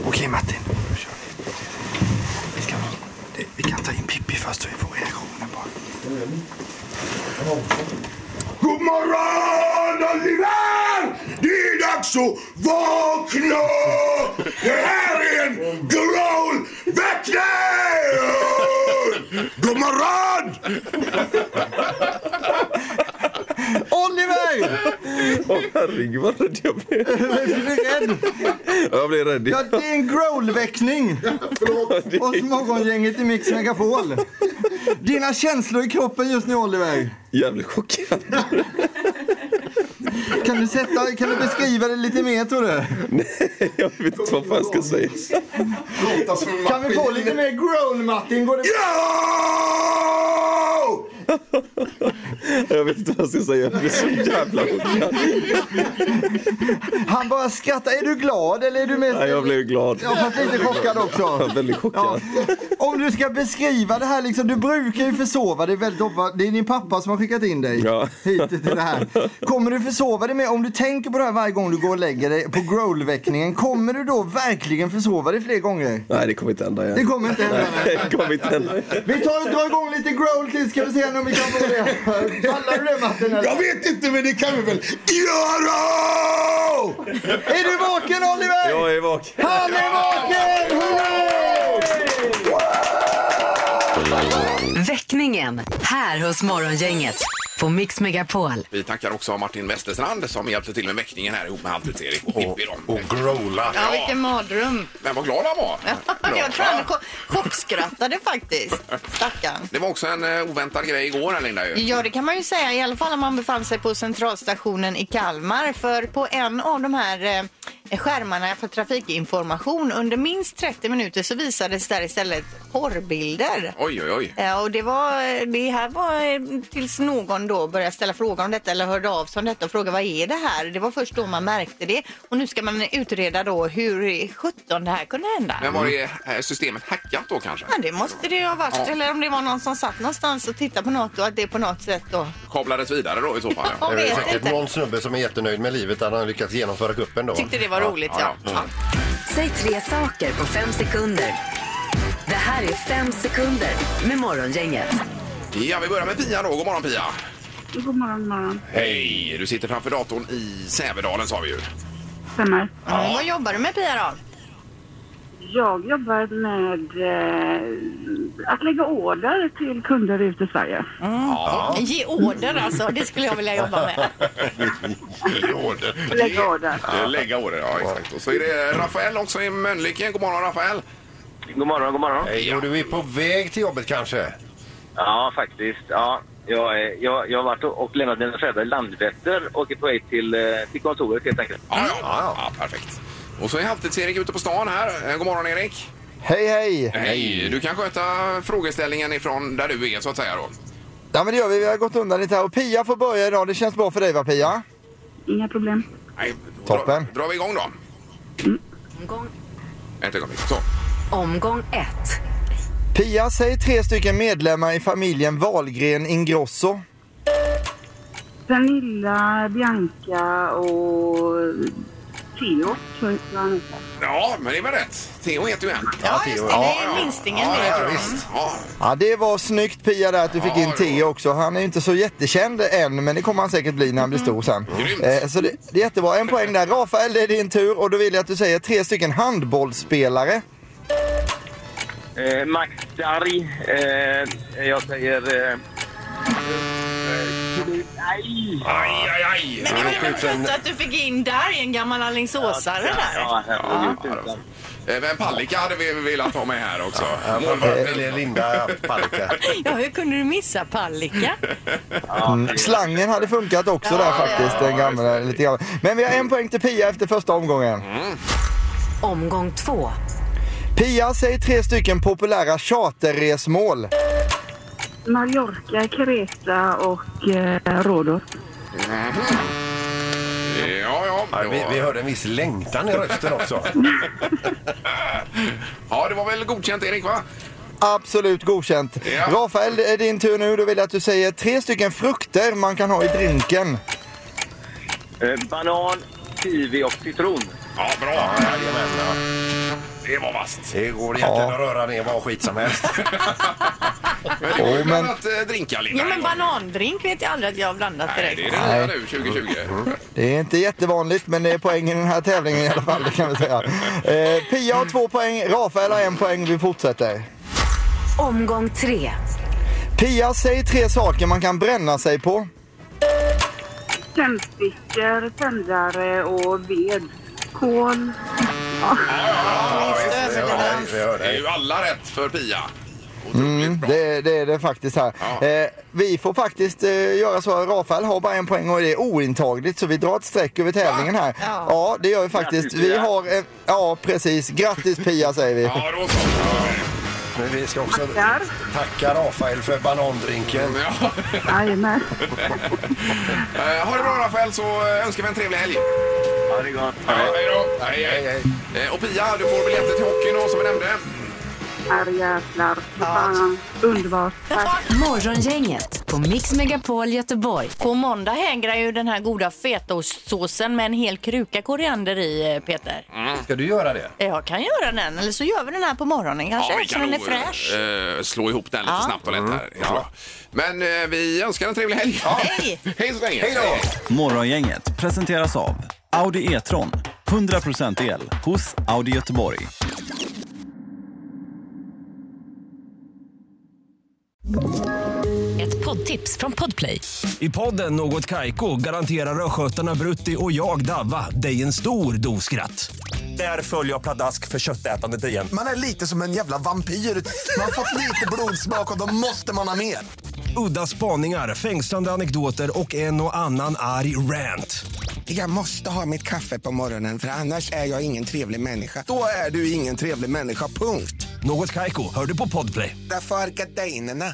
Speaker 9: Okej Martin, då kör vi. Vi, ska, det, vi kan ta in Pippi först så vi får reaktionen bara.
Speaker 11: God morgon Oliver! Det är dags att vakna! Det här är en growl-väckning! God morgon!
Speaker 9: Oliver!
Speaker 12: Åh herregud vad rädd jag blev.
Speaker 9: rädd?
Speaker 12: Ja, Jag blev rädd.
Speaker 9: Ja, det är en growl-väckning hos morgongänget i Mix Megapol. Dina känslor i kroppen just nu, Oliver.
Speaker 12: Jävligt chockad.
Speaker 9: Kan du, sätta, kan du beskriva det lite mer, tror du?
Speaker 12: Jag vet inte vad fan jag ska säga.
Speaker 9: Kan vi få lite mer growl, Martin? Går det...
Speaker 12: Jag vet inte vad jag ska säga. Jag blev så jävla chockad.
Speaker 9: Han bara skrattar. Är du glad eller är du mest...
Speaker 12: Nej, jag blev glad.
Speaker 9: Ja, fast lite chockad också.
Speaker 12: Jag blev väldigt chockad.
Speaker 9: Om du ska beskriva det här, liksom, du brukar ju försova dig väldigt ofta. Det är din pappa som har skickat in dig hit till det här. Kommer du försova dig med, om du tänker på det här varje gång du går och lägger dig på growl-väckningen, kommer du då verkligen försova dig fler gånger?
Speaker 12: Nej, det kommer inte hända igen.
Speaker 9: Det kommer inte hända.
Speaker 12: Nej, det kommer inte hända.
Speaker 9: Vi tar och drar igång lite growl till ska vi se om vi kan få det. Pallar du det Martin? Eller?
Speaker 11: Jag vet inte, men det kan vi väl göra!
Speaker 9: Är du vaken Oliver?
Speaker 12: Jag är vaken.
Speaker 9: Han är vaken!
Speaker 4: Väckningen här hos Morgongänget på Mix Megapol.
Speaker 1: Vi tackar också Martin Westerstrand som hjälpte till med väckningen här ihop med Halvtids-Erik och Pippi. då.
Speaker 2: Och growla.
Speaker 3: Ja, vilken mardröm.
Speaker 1: Men vad glad han var.
Speaker 3: Jag tror han cho- chockskrattade faktiskt. Stackarn.
Speaker 1: Det var också en eh, oväntad grej igår här Linda ju.
Speaker 3: Ja, det kan man ju säga. I alla fall om man befann sig på centralstationen i Kalmar. För på en av de här eh, skärmarna för trafikinformation under minst 30 minuter så visades där istället porrbilder.
Speaker 1: Oj, oj, oj.
Speaker 3: Eh, Och det, var, det här var eh, tills någon då började ställa frågor om detta eller hörde av sig om detta och frågade vad är det här? Det var först då man märkte det och nu ska man utreda då hur i sjutton det här kunde hända.
Speaker 1: Men var det eh, systemet hackat då kanske?
Speaker 3: Ja, det måste det ju ha varit.
Speaker 1: Ja.
Speaker 3: Eller om det var någon som satt någonstans och tittade på något och att det på något sätt då...
Speaker 1: Kablades vidare då i så fall?
Speaker 3: Ja,
Speaker 2: Det är
Speaker 3: vet
Speaker 2: säkert
Speaker 3: inte.
Speaker 2: någon snubbe som är jättenöjd med livet att han har lyckats genomföra kuppen då.
Speaker 3: Tyckte det var roligt, ja. Mm.
Speaker 4: Säg tre saker på fem sekunder. Det här är fem sekunder med Morgongänget.
Speaker 1: Ja, vi börjar med Pia då. God morgon Pia.
Speaker 13: God morgon, god morgon.
Speaker 1: Hej! Du sitter framför datorn i Sävedalen sa vi ju.
Speaker 13: Stämmer.
Speaker 3: Mm, vad jobbar du med Pia då?
Speaker 13: Jag jobbar med eh, att lägga order till kunder ute i Sverige.
Speaker 3: Ja. Mm. Ge order alltså, det skulle jag vilja jobba med.
Speaker 1: Lägga order.
Speaker 13: Lägga order.
Speaker 1: Ja, Lägga order, ja exakt. Och så är det Rafael också i Mölnlycke. God morgon Rafael!
Speaker 14: God morgon, god morgon.
Speaker 2: Hej, och du är på väg till jobbet kanske?
Speaker 14: Ja, faktiskt. Ja, jag, är- jag, jag har varit och och lämnat mina föräldrar i Landvetter och är på väg till, eh, till kontoret helt enkelt.
Speaker 1: Ja, ja. ja perfekt. Och så är Halvtids-Erik ute på stan här. Eh, God morgon Erik!
Speaker 9: Hej, hej!
Speaker 1: Hej! Du kan sköta frågeställningen ifrån där du är så att säga då.
Speaker 9: Ja, men det gör vi. Vi har gått undan lite här. Och Pia får börja idag. Det känns bra för dig va Pia?
Speaker 13: Inga problem.
Speaker 1: Nej,
Speaker 9: Toppen.
Speaker 1: Drar vi igång då?
Speaker 4: Omgång,
Speaker 1: Ett ögonblick. Så.
Speaker 4: omgång ett.
Speaker 9: Pia, säg tre stycken medlemmar i familjen Wahlgren Ingrosso.
Speaker 13: Pernilla, Bianca och Theo, tror jag att han heter.
Speaker 1: Ja, men det är väl rätt. Theo heter ju en.
Speaker 9: Ja, just det. Det är
Speaker 3: minstingen
Speaker 1: ja,
Speaker 9: det.
Speaker 1: ja, visst. Ja,
Speaker 9: Ja, det var snyggt Pia där att du fick in Theo också. Han är ju inte så jättekänd än, men det kommer han säkert bli när han blir stor sen.
Speaker 11: Mm.
Speaker 9: Eh, så det, det är jättebra. En poäng där. Rafael, det är din tur och då vill jag att du säger tre stycken handbollsspelare.
Speaker 14: Eh, Max Darry. Eh, jag säger... Eh, Aj!
Speaker 1: Aj, aj, aj!
Speaker 3: Men det var ju skönt att du fick in där i en gammal Alingsåsare där.
Speaker 14: Ja,
Speaker 1: herregud. Ja, det var- Eh, Men Palicka hade vi velat ha med här också.
Speaker 2: Eh, eller Linda Palicka.
Speaker 3: Ja, hur kunde du missa Pallika?
Speaker 9: Mm. Slangen hade funkat också där faktiskt. Den gamla, lite gamla. Men vi har en poäng till Pia efter första omgången.
Speaker 4: Omgång två.
Speaker 9: Pia, säg tre stycken populära charterresmål.
Speaker 13: Mallorca, Kreta och eh, Rhodos.
Speaker 1: Ja, ja.
Speaker 2: vi, vi hörde en viss längtan i rösten också.
Speaker 1: Ja, det var väl godkänt Erik va?
Speaker 9: Absolut godkänt. Rafael, det är din tur nu. Då vill jag att du säger tre stycken frukter man kan ha i drinken.
Speaker 14: Eh, banan, kiwi och citron.
Speaker 1: Ja, bra.
Speaker 2: Jajamän, ja.
Speaker 1: Det var vasst.
Speaker 2: Det går egentligen att röra ner vad skit som helst.
Speaker 1: Men det var ju
Speaker 2: Jo,
Speaker 1: bland
Speaker 2: men-
Speaker 1: annat eh, drinkar Linda.
Speaker 3: Ja, men banandrink vet jag aldrig att jag har blandat
Speaker 1: Nej,
Speaker 3: direkt.
Speaker 1: det är det nya nu 2020.
Speaker 9: Det är inte jättevanligt, men det är poängen i den här tävlingen i alla fall. Det kan vi säga. Eh, Pia har två poäng, Rafael har en poäng. Vi fortsätter.
Speaker 4: Omgång tre.
Speaker 9: Pia, säg tre saker man kan bränna sig på.
Speaker 13: tändstickor, tändare och ved. Kol. Ja.
Speaker 1: Det är ju alla rätt för Pia.
Speaker 9: Mm, det, det är det faktiskt här. Eh, vi får faktiskt eh, göra så att Rafael har bara en poäng och det är ointagligt så vi drar ett streck över tävlingen här. Ja, det gör vi faktiskt.
Speaker 2: Grattis,
Speaker 9: Vi
Speaker 2: Pia.
Speaker 9: har en, ja, precis. Grattis Pia säger vi.
Speaker 2: Men vi ska också tacka Rafael för banandrinken.
Speaker 13: Jajamän.
Speaker 1: Eh, ha det bra Rafael så eh, önskar vi en trevlig helg. Ha det gott. Hej då. Hej, hej. Eh, och Pia, du får biljetter till hockeyn då som vi nämnde.
Speaker 13: Här jävlar. Fan. Underbart.
Speaker 15: Morgongänget på Mix Megapol Göteborg.
Speaker 3: På måndag hängrar ju den här goda fetaostsåsen med en hel kruka koriander i, eh, Peter.
Speaker 1: Mm.
Speaker 2: Ska du göra det?
Speaker 3: Jag kan göra den, eller så gör vi den här på morgonen kanske, så den är
Speaker 1: nog,
Speaker 3: fräsch.
Speaker 1: eh, slå ihop den lite
Speaker 3: Ja.
Speaker 1: snabbt och lätt här. tror jag. Men eh, vi önskar en trevlig helg. Hej! Hej så länge. Hej då!
Speaker 16: Morgongänget presenteras av Audi E-tron. 100% el hos Audi Göteborg.
Speaker 4: Ett poddtips från Podplay.
Speaker 17: I podden Något Kaiko garanterar östgötarna Brutti och jag, Davva, dig en stor dos skratt. Där följer jag pladask för köttätandet igen.
Speaker 11: Man är lite som en jävla vampyr. Man har fått lite blodsmak och då måste man ha mer.
Speaker 17: Udda spaningar, fängslande anekdoter och en och annan arg rant.
Speaker 11: Jag måste ha mitt kaffe på morgonen för annars är jag ingen trevlig människa. Då är du ingen trevlig människa, punkt.
Speaker 17: Något Kaiko, hör du på Podplay.
Speaker 11: Därför arkadeinerna.